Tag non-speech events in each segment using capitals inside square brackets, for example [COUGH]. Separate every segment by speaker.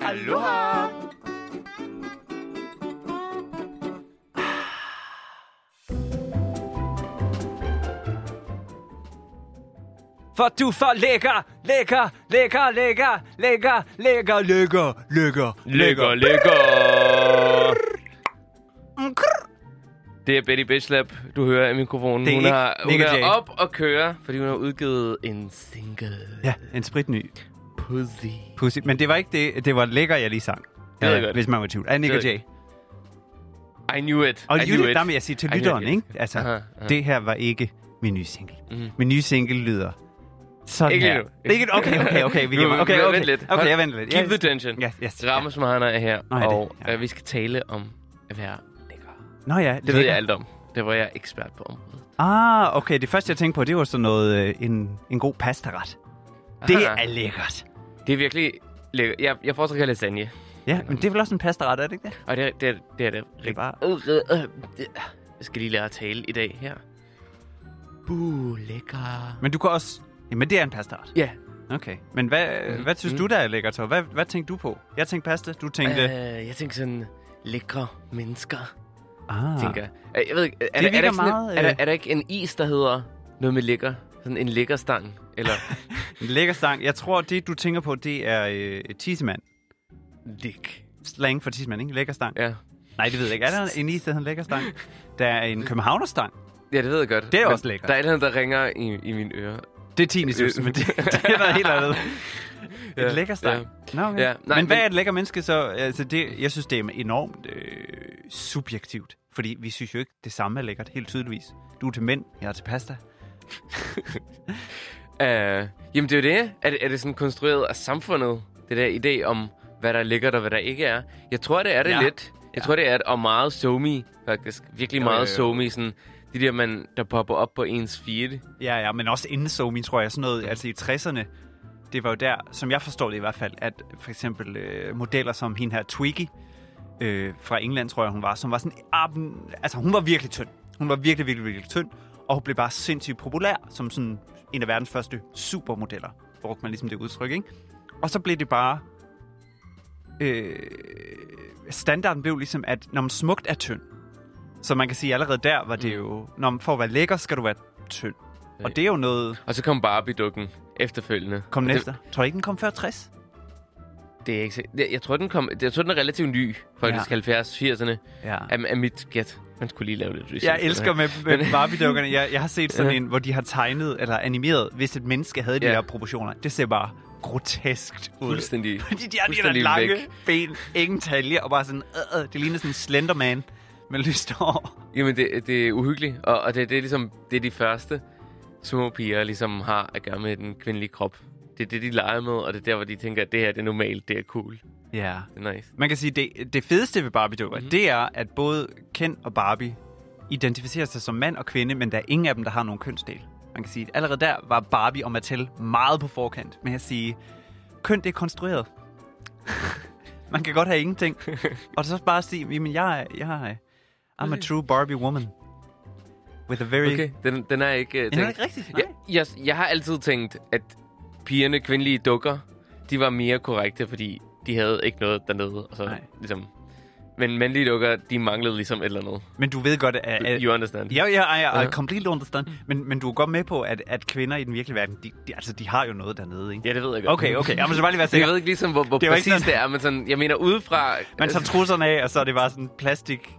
Speaker 1: Aloha!
Speaker 2: For du er for lækker, lækker, lækker, lækker, lækker, lækker, lækker, lækker,
Speaker 1: Lækker, lækker. Det er Betty Bitchlap, du hører af mikrofonen.
Speaker 2: Det er
Speaker 1: hun
Speaker 2: ikke
Speaker 1: har, hun
Speaker 2: Nick og
Speaker 1: er
Speaker 2: Jay.
Speaker 1: op og køre, fordi hun har udgivet en single.
Speaker 2: Ja, en spritny
Speaker 1: Pussy.
Speaker 2: pussy. Men det var ikke det, det var lækker, jeg lige sang.
Speaker 1: ved jeg
Speaker 2: Ja,
Speaker 1: godt.
Speaker 2: Hvis man var i tvivl. Af Nick
Speaker 1: Det
Speaker 2: og
Speaker 1: ved
Speaker 2: Jay.
Speaker 1: jeg I knew it.
Speaker 2: Og
Speaker 1: I knew
Speaker 2: Jytte,
Speaker 1: it.
Speaker 2: der vil jeg sige til
Speaker 1: I knew
Speaker 2: lytteren,
Speaker 1: it.
Speaker 2: ikke? Altså,
Speaker 1: Aha, aha.
Speaker 2: det her var ikke min nye single.
Speaker 1: Mhm.
Speaker 2: Min nye single lyder sådan
Speaker 1: Ikke lige
Speaker 2: her.
Speaker 1: nu.
Speaker 2: Ikke Okay, okay, okay. Vi
Speaker 1: Nu-
Speaker 2: gemmer- okay,
Speaker 1: nu-
Speaker 2: okay.
Speaker 1: vent lidt.
Speaker 2: Okay,
Speaker 1: Hold-
Speaker 2: jeg venter lidt.
Speaker 1: Keep
Speaker 2: Ja,
Speaker 1: the tension.
Speaker 2: Ja, yes. ja.
Speaker 1: Rammes Mahana er her,
Speaker 2: Nå, ja, det-
Speaker 1: og
Speaker 2: ja.
Speaker 1: øh, vi skal tale om at være lækker.
Speaker 2: Nå ja,
Speaker 1: Det ved jeg alt om. Det var jeg ekspert på området.
Speaker 2: Ah, okay. Det første, jeg tænkte på, det var sådan noget, øh, en, en god pastaret. Det
Speaker 1: Aha.
Speaker 2: er lækkert.
Speaker 1: Det er virkelig lækker. Jeg, jeg foretrækker lasagne.
Speaker 2: Ja, men det er vel også en pastaret, er det ikke det?
Speaker 1: Og det er det, er, det, er, det, Øh,
Speaker 2: Det er
Speaker 1: er
Speaker 2: bare-
Speaker 1: bare... Jeg skal lige lære at tale i dag her. Buh, lækker.
Speaker 2: Men du kan også... Jamen, det er en pastaret.
Speaker 1: Ja.
Speaker 2: Okay. Men hvad,
Speaker 1: Mhm.
Speaker 2: mm. hvad synes mm. du, der er lækkert, så? Hvad, hvad tænkte du på? Jeg tænkte pasta, du tænkte... Øh,
Speaker 1: Øh, jeg tænker sådan, lækre mennesker,
Speaker 2: ah.
Speaker 1: tænker jeg. Øh, Jeg ved ikke, er, der- er,
Speaker 2: virker
Speaker 1: der ikke sådan,
Speaker 2: meget,
Speaker 1: en- er, der,
Speaker 2: øh,
Speaker 1: er der ikke en is, der hedder noget med lækker? Sådan en lækkerstang? Eller
Speaker 2: [LAUGHS] En lækker stang. Jeg tror, det, du tænker på, det er øh, tissemand.
Speaker 1: dik?
Speaker 2: Slang for tissemand, ikke? Lækker stang.
Speaker 1: Ja.
Speaker 2: Nej, det ved jeg ikke. Er der en is, der hedder en lækker [LAUGHS] stang? Der er en københavnerstang.
Speaker 1: ja, det ved jeg godt.
Speaker 2: Det er
Speaker 1: Men
Speaker 2: også lækkert.
Speaker 1: Der er et eller andet, der ringer i, i mine ører.
Speaker 2: Det er tinnitus, men det, det er noget helt andet. Et ja,
Speaker 1: Ja,
Speaker 2: lækker stang. Ja. Nå, okay. ja,
Speaker 1: Ja, nej,
Speaker 2: men hvad
Speaker 1: men-
Speaker 2: er et lækker menneske så? Altså, det, jeg synes, det er enormt øh, subjektivt. Fordi vi synes jo ikke, det samme er lækkert, helt tydeligvis. Du er til mænd, jeg er til pasta.
Speaker 1: Øh, jamen, det er jo det. Er det, er det sådan konstrueret af samfundet? Det der idé om, hvad der er lækkert og hvad der ikke er. Jeg tror, det er det
Speaker 2: Ja.
Speaker 1: ja. lidt. Jeg
Speaker 2: Ja.
Speaker 1: tror, det er det. Og meget somi, faktisk. Virkelig
Speaker 2: Jo, jo, jo.
Speaker 1: meget somi. Sådan, de der, man, der popper op på ens feed.
Speaker 2: Ja, ja, men også inden somi, tror jeg, sådan noget, altså i 60'erne, det var jo der, som jeg forstår det i hvert fald, at for eksempel øh, modeller som hende her, Twiggy, øh, fra England, tror jeg, hun var, som var sådan, ah, men- altså hun var virkelig tynd. Hun var virkelig, virkelig, virkelig tynd, og hun blev bare sindssygt populær, som sådan en af verdens første supermodeller, brugte man ligesom det udtryk, ikke? Og så blev det bare, øh, standarden blev ligesom, at når man smukt er tynd, så man kan sige, allerede der var det jo, når man for at være lækker, skal du være tynd. Og det er jo noget...
Speaker 1: Og så kom Barbie-dukken efterfølgende.
Speaker 2: Kom
Speaker 1: Og
Speaker 2: den efter. Tror du ikke, den kom før 60?
Speaker 1: Det, det er ikke, sikkert. jeg, jeg tror, den kom, jeg tror, den er relativt ny. Faktisk
Speaker 2: Ja.
Speaker 1: ja. 70-80'erne.
Speaker 2: Ja.
Speaker 1: Er, er mit gæt. Man skulle lige lave lidt research.
Speaker 2: Jeg elsker med, med
Speaker 1: [LAUGHS]
Speaker 2: Barbie-dukkerne. Jeg, jeg har set sådan en, hvor de har tegnet eller animeret, hvis et menneske havde de
Speaker 1: Ja.
Speaker 2: der proportioner. Det ser bare groteskt ud.
Speaker 1: Fuldstændig.
Speaker 2: [LAUGHS] Fordi de har de der
Speaker 1: fuldstændig
Speaker 2: lange
Speaker 1: væk.
Speaker 2: ben, ingen talje, og bare sådan, øh, øh, det ligner sådan en Slenderman med lyst hår.
Speaker 1: Jamen, det, det er uhyggeligt, og, og det, det er ligesom det er de første små piger ligesom har at gøre med den kvindelige krop. Det er det, de leger med, og det er der, hvor de tænker, at det her det er normalt, det er cool, det
Speaker 2: Ja.
Speaker 1: er nice.
Speaker 2: Man kan sige, det, det fedeste ved Barbie-dukker,
Speaker 1: Mhm.
Speaker 2: mm-hmm. det er, at både Ken og Barbie identificerer sig som mand og kvinde, men der er ingen af dem, der har nogen kønsdel. Man kan sige, at allerede der var Barbie og Mattel meget på forkant med at sige, køn det er konstrueret. [LAUGHS] Man kan godt have
Speaker 1: [LAUGHS]
Speaker 2: ingenting. og så bare sige, jamen jeg, er- jeg er, I'm a true Barbie woman. With a very...
Speaker 1: Okay, den, den er ikke... Uh,
Speaker 2: Den er ikke rigtig.
Speaker 1: jeg, jeg, jeg har altid tænkt, at pigerne, kvindelige dukker, de var mere korrekte, fordi de havde ikke noget dernede. Og så,
Speaker 2: Nej.
Speaker 1: ligesom, men mandlige dukker, de manglede ligesom et eller andet.
Speaker 2: Men du ved godt, at... at
Speaker 1: You understand?
Speaker 2: Øh, Ja, ja, ja, ja. I
Speaker 1: Ja. Mm.
Speaker 2: completely understand. Men, men du er godt med på, at, at kvinder i den virkelige verden, de, de, altså, de har jo noget dernede, ikke?
Speaker 1: ja, det ved jeg godt.
Speaker 2: Okay, okay. Jeg må så bare lige være
Speaker 1: Jeg
Speaker 2: sikker.
Speaker 1: ved ikke ligesom, hvor, hvor
Speaker 2: Det var ikke
Speaker 1: præcis
Speaker 2: sådan-
Speaker 1: det er, men sådan, jeg mener udefra... Altså-
Speaker 2: Man tager trusserne af, og så er det bare sådan plastik,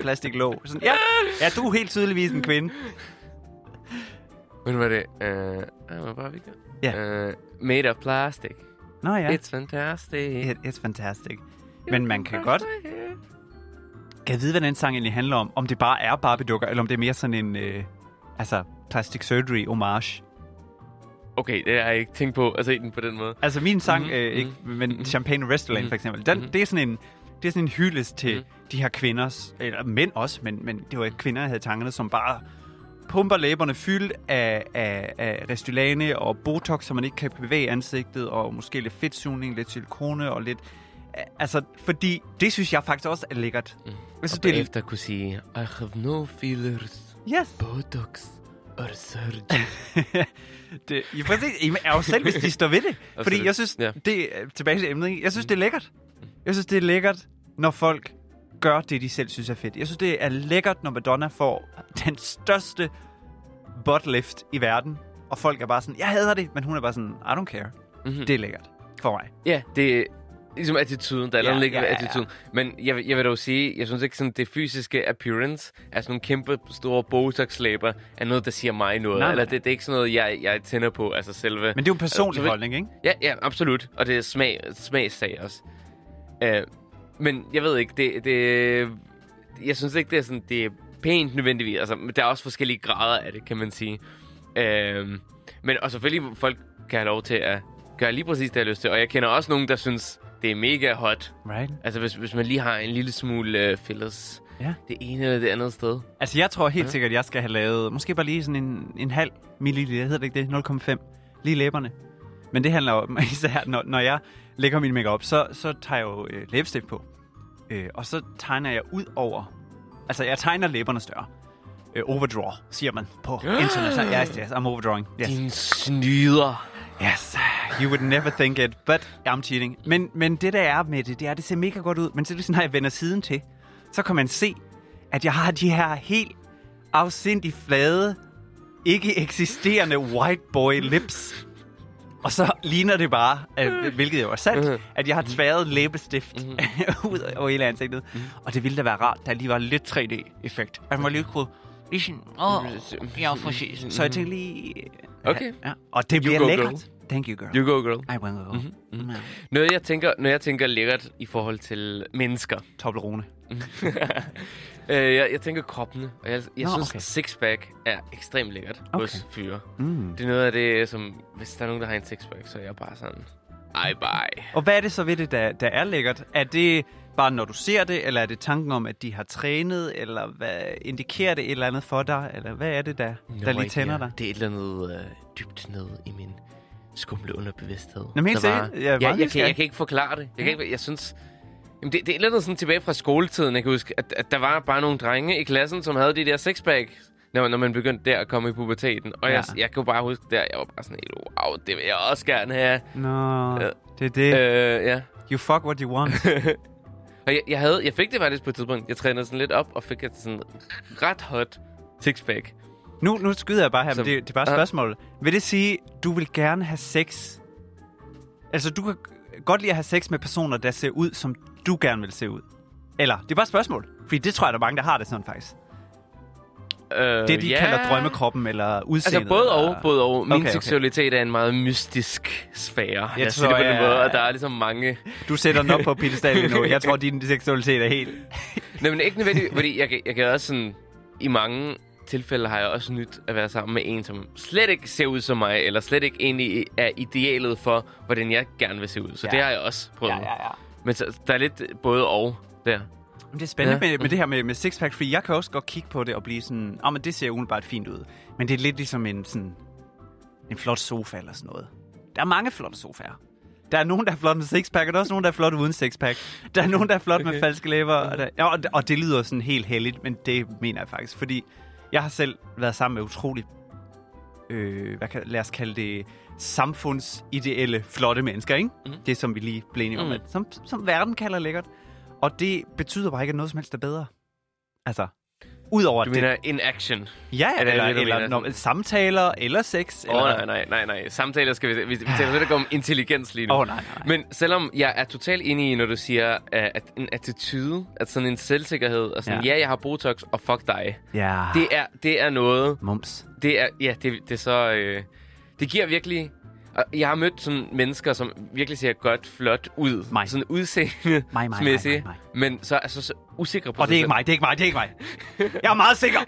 Speaker 2: plastiklåg. Sådan, ja, ja, du er helt tydeligvis en kvinde.
Speaker 1: When var det? Uh, I'm a barbecue.
Speaker 2: Ja.
Speaker 1: Uh, made of plastic.
Speaker 2: Nå ja,
Speaker 1: It's fantastic.
Speaker 2: it, it's fantastic. Men man kan godt... Kan jeg vide, hvad den sang egentlig handler om? Om det bare er Barbie-dukker, eller om det er mere sådan en... Øh, altså, plastic surgery homage.
Speaker 1: Okay, det har jeg ikke tænkt på at se den på den måde.
Speaker 2: Altså, min sang, mm-hmm. øh,
Speaker 1: Mhm,
Speaker 2: ikke, men Champagne Restaurant for eksempel, den, mm-hmm. det er sådan en... Det er sådan en hyldest til
Speaker 1: Mhm.
Speaker 2: mm-hmm. de her kvinders, eller mænd også, men, men det var kvinder, jeg havde i tankerne, som bare pumper læberne fyldt af, af, af restylane og botox, så man ikke kan bevæge ansigtet, og måske lidt fedtsugning, lidt silikone og lidt... Altså, fordi det synes jeg faktisk også er lækkert. Mm. Altså,
Speaker 1: Og
Speaker 2: det er,
Speaker 1: bagefter kunne sige, I have no fillers,
Speaker 2: yes.
Speaker 1: botox or
Speaker 2: [LAUGHS]
Speaker 1: surgery.
Speaker 2: det, ja, præcis. I er jo selv, hvis de står ved det. Fordi
Speaker 1: Absolut, [LAUGHS]
Speaker 2: jeg synes,
Speaker 1: ja.
Speaker 2: det er tilbage til emnet, ikke? jeg synes, det er lækkert. Jeg synes, det er lækkert, når folk gør det, de selv synes er fedt. Jeg synes, det er lækkert, når Madonna får den største buttlift i verden, og folk er bare sådan, jeg hader det, men hun er bare sådan, I don't care.
Speaker 1: Mm-hmm.
Speaker 2: Det er lækkert for mig.
Speaker 1: Ja, det er ligesom attituden. Der er
Speaker 2: Ja,
Speaker 1: ja, lidt
Speaker 2: ja,
Speaker 1: ja,
Speaker 2: ja, ja.
Speaker 1: attituden. Men jeg, vil- jeg vil dog sige, jeg synes ikke, sådan det fysiske appearance af sådan nogle kæmpe store botox-læber er noget, der siger mig noget.
Speaker 2: Nej,
Speaker 1: Nej, Eller
Speaker 2: nej.
Speaker 1: det, det er ikke sådan noget, jeg, jeg tænder på, altså selve...
Speaker 2: Men det er jo en personlig
Speaker 1: så vil-
Speaker 2: holdning, ikke?
Speaker 1: Ja, ja, absolut. Og det er smag, smagssag også. Øh, men jeg ved ikke, det, det... Jeg synes ikke, det er sådan, det er pænt nødvendigvis. Altså, men der er også forskellige grader af det, kan man sige. Øh, men og selvfølgelig, folk kan have lov til at gøre lige præcis det, jeg har lyst til. Og jeg kender også nogen, der synes, det er mega hot.
Speaker 2: Right.
Speaker 1: Altså, hvis, hvis man lige har en lille smule øh, fillers
Speaker 2: Ja.
Speaker 1: det ene eller det andet sted.
Speaker 2: Altså, jeg tror helt
Speaker 1: Ja.
Speaker 2: sikkert, at jeg skal have lavet, måske bare lige sådan en, en halv milliliter, hedder det ikke det? 0,5. Lige læberne. Men det handler om, [LAUGHS] især når, når jeg lægger min makeup, så, så tager jeg jo øh, læbestift på. Øh, og så tegner jeg ud over, altså jeg tegner læberne større. Øh, overdraw, siger man
Speaker 1: [GASPS]
Speaker 2: på international. Yes, yes, I'm overdrawing. Yes.
Speaker 1: Din snyder.
Speaker 2: Yes, you would never think it, but I'm cheating. Men, men det der er med det, det er, at det ser mega godt ud, men så er det sådan, når jeg vender siden til, så kan man se, at jeg har de her helt afsindig flade, ikke eksisterende white boy lips. Og så ligner det bare, at, hvilket jo er
Speaker 1: Mm-hmm.
Speaker 2: sandt, at jeg har tværet læbestift [LAUGHS] ud over hele ansigtet.
Speaker 1: Mm-hmm.
Speaker 2: Og det ville da være rart, der lige var lidt 3D-effekt. At man lige kunne... lige
Speaker 1: Mm-hmm.
Speaker 2: sådan, Åh, jeg er præcis. Så jeg tænkte lige...
Speaker 1: Okay.
Speaker 2: Ja. Og det bliver
Speaker 1: go,
Speaker 2: lækkert. Thank you, girl.
Speaker 1: You go, girl.
Speaker 2: I will go. Mm-hmm. Mm.
Speaker 1: Noget, jeg tænker, når jeg tænker lækkert i forhold til mennesker,
Speaker 2: Toblerone.
Speaker 1: [LAUGHS] Øh, jeg, jeg tænker kroppene, og jeg, jeg
Speaker 2: Nå,
Speaker 1: Nå, synes,
Speaker 2: okay.
Speaker 1: okay. sixpack er ekstremt lækkert okay. hos fyre.
Speaker 2: Mm.
Speaker 1: Det er noget af det, som... Hvis der er nogen, der har en sixpack, så er jeg bare sådan... Ej, bye.
Speaker 2: Og hvad er det så ved det, der, der er lækkert? Er det bare, når du ser det, eller er det tanken om, at de har trænet, eller hvad, indikerer det et eller andet for dig? Eller hvad er det, der, der lige tænder dig?
Speaker 1: Det er et eller andet øh, dybt ned i min skumle underbevidsthed.
Speaker 2: Nå, men helt
Speaker 1: der bare-
Speaker 2: seriøst, jeg er meget
Speaker 1: ja, jeg, kan,
Speaker 2: nysgerrig.
Speaker 1: jeg kan ikke forklare det. Jeg, kan ikke, jeg synes... Jamen, det, det er et eller andet sådan tilbage fra skoletiden, jeg kan huske, at, at der var bare nogle drenge i klassen, som havde de der sixpack, når, når man begyndte der at komme i puberteten. Og ja. jeg,
Speaker 2: Ja.
Speaker 1: jeg kunne bare huske der, jeg var bare sådan helt, wow, det vil jeg også gerne have.
Speaker 2: Nå,
Speaker 1: Ja.
Speaker 2: det er det.
Speaker 1: Øh, ja.
Speaker 2: You fuck what you [LAUGHS] want.
Speaker 1: Og jeg, jeg, havde, jeg fik det faktisk på et tidspunkt. Jeg trænede sådan lidt op og fik et sådan ret hot sixpack.
Speaker 2: Nu, nu skyder jeg bare her, men
Speaker 1: Som-
Speaker 2: det, det er bare et
Speaker 1: Ja.
Speaker 2: spørgsmål. Vil det sige, du vil gerne have sex? Altså, du kan godt lide at have sex med personer, der ser ud, som du gerne vil se ud. Eller, det er bare et spørgsmål. Fordi det tror jeg, der er mange, der har det sådan faktisk.
Speaker 1: Øh,
Speaker 2: Det, de kalder drømmekroppen eller udseendet.
Speaker 1: Altså både
Speaker 2: eller...
Speaker 1: og, både og.
Speaker 2: Okay,
Speaker 1: Min okay,
Speaker 2: okay.
Speaker 1: okay. seksualitet er en meget mystisk sfære. Jeg, jeg
Speaker 2: tror,
Speaker 1: tror, det på den
Speaker 2: jeg-
Speaker 1: måde, og der er ligesom mange...
Speaker 2: Du sætter den op på pedestal lige
Speaker 1: [LAUGHS]
Speaker 2: nu. Jeg tror, din seksualitet er helt...
Speaker 1: Nej, men ikke nødvendigt, fordi jeg, kan- jeg kan også sådan... I mange tilfælde har jeg også nyt at være sammen med en, som slet ikke ser ud som mig, eller slet ikke egentlig er idealet for, hvordan jeg gerne vil se ud. Så
Speaker 2: Ja.
Speaker 1: ja. det har jeg også prøvet. Ja, ja.
Speaker 2: ja.
Speaker 1: Men så, der er lidt både og der.
Speaker 2: Men Det er spændende ja.
Speaker 1: Ja.
Speaker 2: med, med det her med, med sixpack, fordi jeg kan også godt kigge på det og blive sådan, åh, oh, men det ser umiddelbart fint ud. Men det er lidt ligesom en, sådan, en flot sofa eller sådan noget. Der er mange flotte sofaer. Der er nogen, der er flot med sixpack, og der er også nogen, der er flot uden sixpack. Der er nogen, der er flot med
Speaker 1: Okay.
Speaker 2: falske læber. Og, der, ja, og, og det lyder sådan helt heldigt, men det mener jeg faktisk. Fordi jeg har selv været sammen med utroligt, øh, hvad kan, lad os kalde det, samfundsideelle flotte mennesker, ikke? Mm. Det, som vi lige blev enige om, mm.
Speaker 1: Mhm.
Speaker 2: at, som, som verden kalder lækkert. Og det betyder bare ikke, at noget som helst er bedre. Altså, udover
Speaker 1: Du
Speaker 2: det.
Speaker 1: mener in action?
Speaker 2: ja,
Speaker 1: er det
Speaker 2: eller,
Speaker 1: det, du
Speaker 2: eller,
Speaker 1: mener?
Speaker 2: når, samtaler, eller sex.
Speaker 1: Åh,
Speaker 2: eller,
Speaker 1: oh, nej, nej, nej, nej. Samtaler skal vi... Vi, vi taler slet ikke om intelligens lige nu.
Speaker 2: Åh, nej, nej.
Speaker 1: Men selvom jeg er totalt enig i, når du siger, øh, at en attitude, at sådan en selvsikkerhed, og sådan,
Speaker 2: Ja. Ah.
Speaker 1: ja, ja jeg har Botox, og fuck dig.
Speaker 2: Ja, det...
Speaker 1: Det er, det er noget,
Speaker 2: mums.
Speaker 1: det er, ja, det, det er så, øh, det giver virkelig, og jeg har mødt sådan mennesker, som virkelig ser godt, flot ud.
Speaker 2: Mig.
Speaker 1: Sådan udseende
Speaker 2: mig, mig, mig, mig.
Speaker 1: men så er så, så usikre på
Speaker 2: Og det er
Speaker 1: sig
Speaker 2: ikke
Speaker 1: selv.
Speaker 2: mig, det er ikke mig, det er ikke mig. Jeg er meget
Speaker 1: [LAUGHS]
Speaker 2: sikker.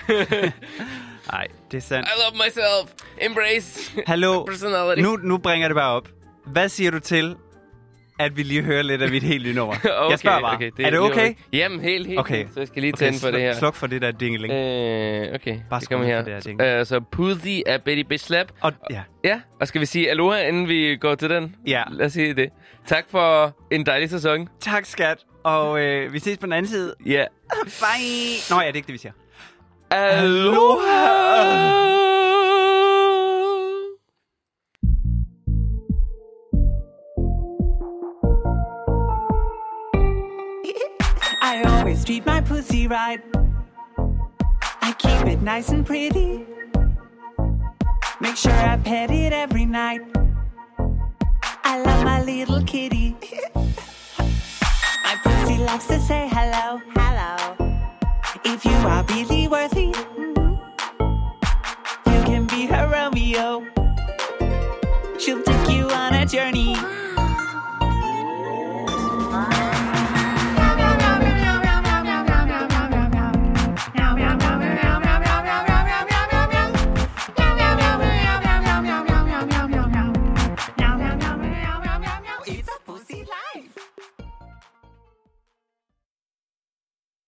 Speaker 2: Nej, det er sandt.
Speaker 1: I love myself. Embrace [LAUGHS]
Speaker 2: Hallo,
Speaker 1: personality.
Speaker 2: nu, nu bringer jeg det bare op. Hvad siger du til, at vi lige hører lidt af mit helt nye
Speaker 1: [LAUGHS]
Speaker 2: nummer?
Speaker 1: [LAUGHS] Okay,
Speaker 2: jeg spørger bare,
Speaker 1: okay,
Speaker 2: er det
Speaker 1: lige
Speaker 2: okay?
Speaker 1: Jamen, helt, helt.
Speaker 2: Okay.
Speaker 1: Okay. Så jeg skal lige tænde for
Speaker 2: sluk,
Speaker 1: det her.
Speaker 2: sluk for det der dingeling. Øh,
Speaker 1: Øh, okay,
Speaker 2: Bare
Speaker 1: det
Speaker 2: skru
Speaker 1: kommer
Speaker 2: ned
Speaker 1: her.
Speaker 2: for det her ting.
Speaker 1: Øh, så Pussy af Betty Bislap.
Speaker 2: og, ja.
Speaker 1: Ja, og skal vi sige aloha, inden vi går til den?
Speaker 2: ja.
Speaker 1: Lad os sige det. Tak for en dejlig sæson.
Speaker 2: Tak, skat. Og øh, vi ses på den anden side.
Speaker 1: Ja.
Speaker 2: Bye. Nå ja, det er ikke det, vi siger.
Speaker 1: Aloha!
Speaker 3: just treat my pussy right. I keep it nice and pretty. Make sure I pet it every night. I love my little kitty. my pussy likes to say hello, hello. If you are really worthy, you can be her Romeo.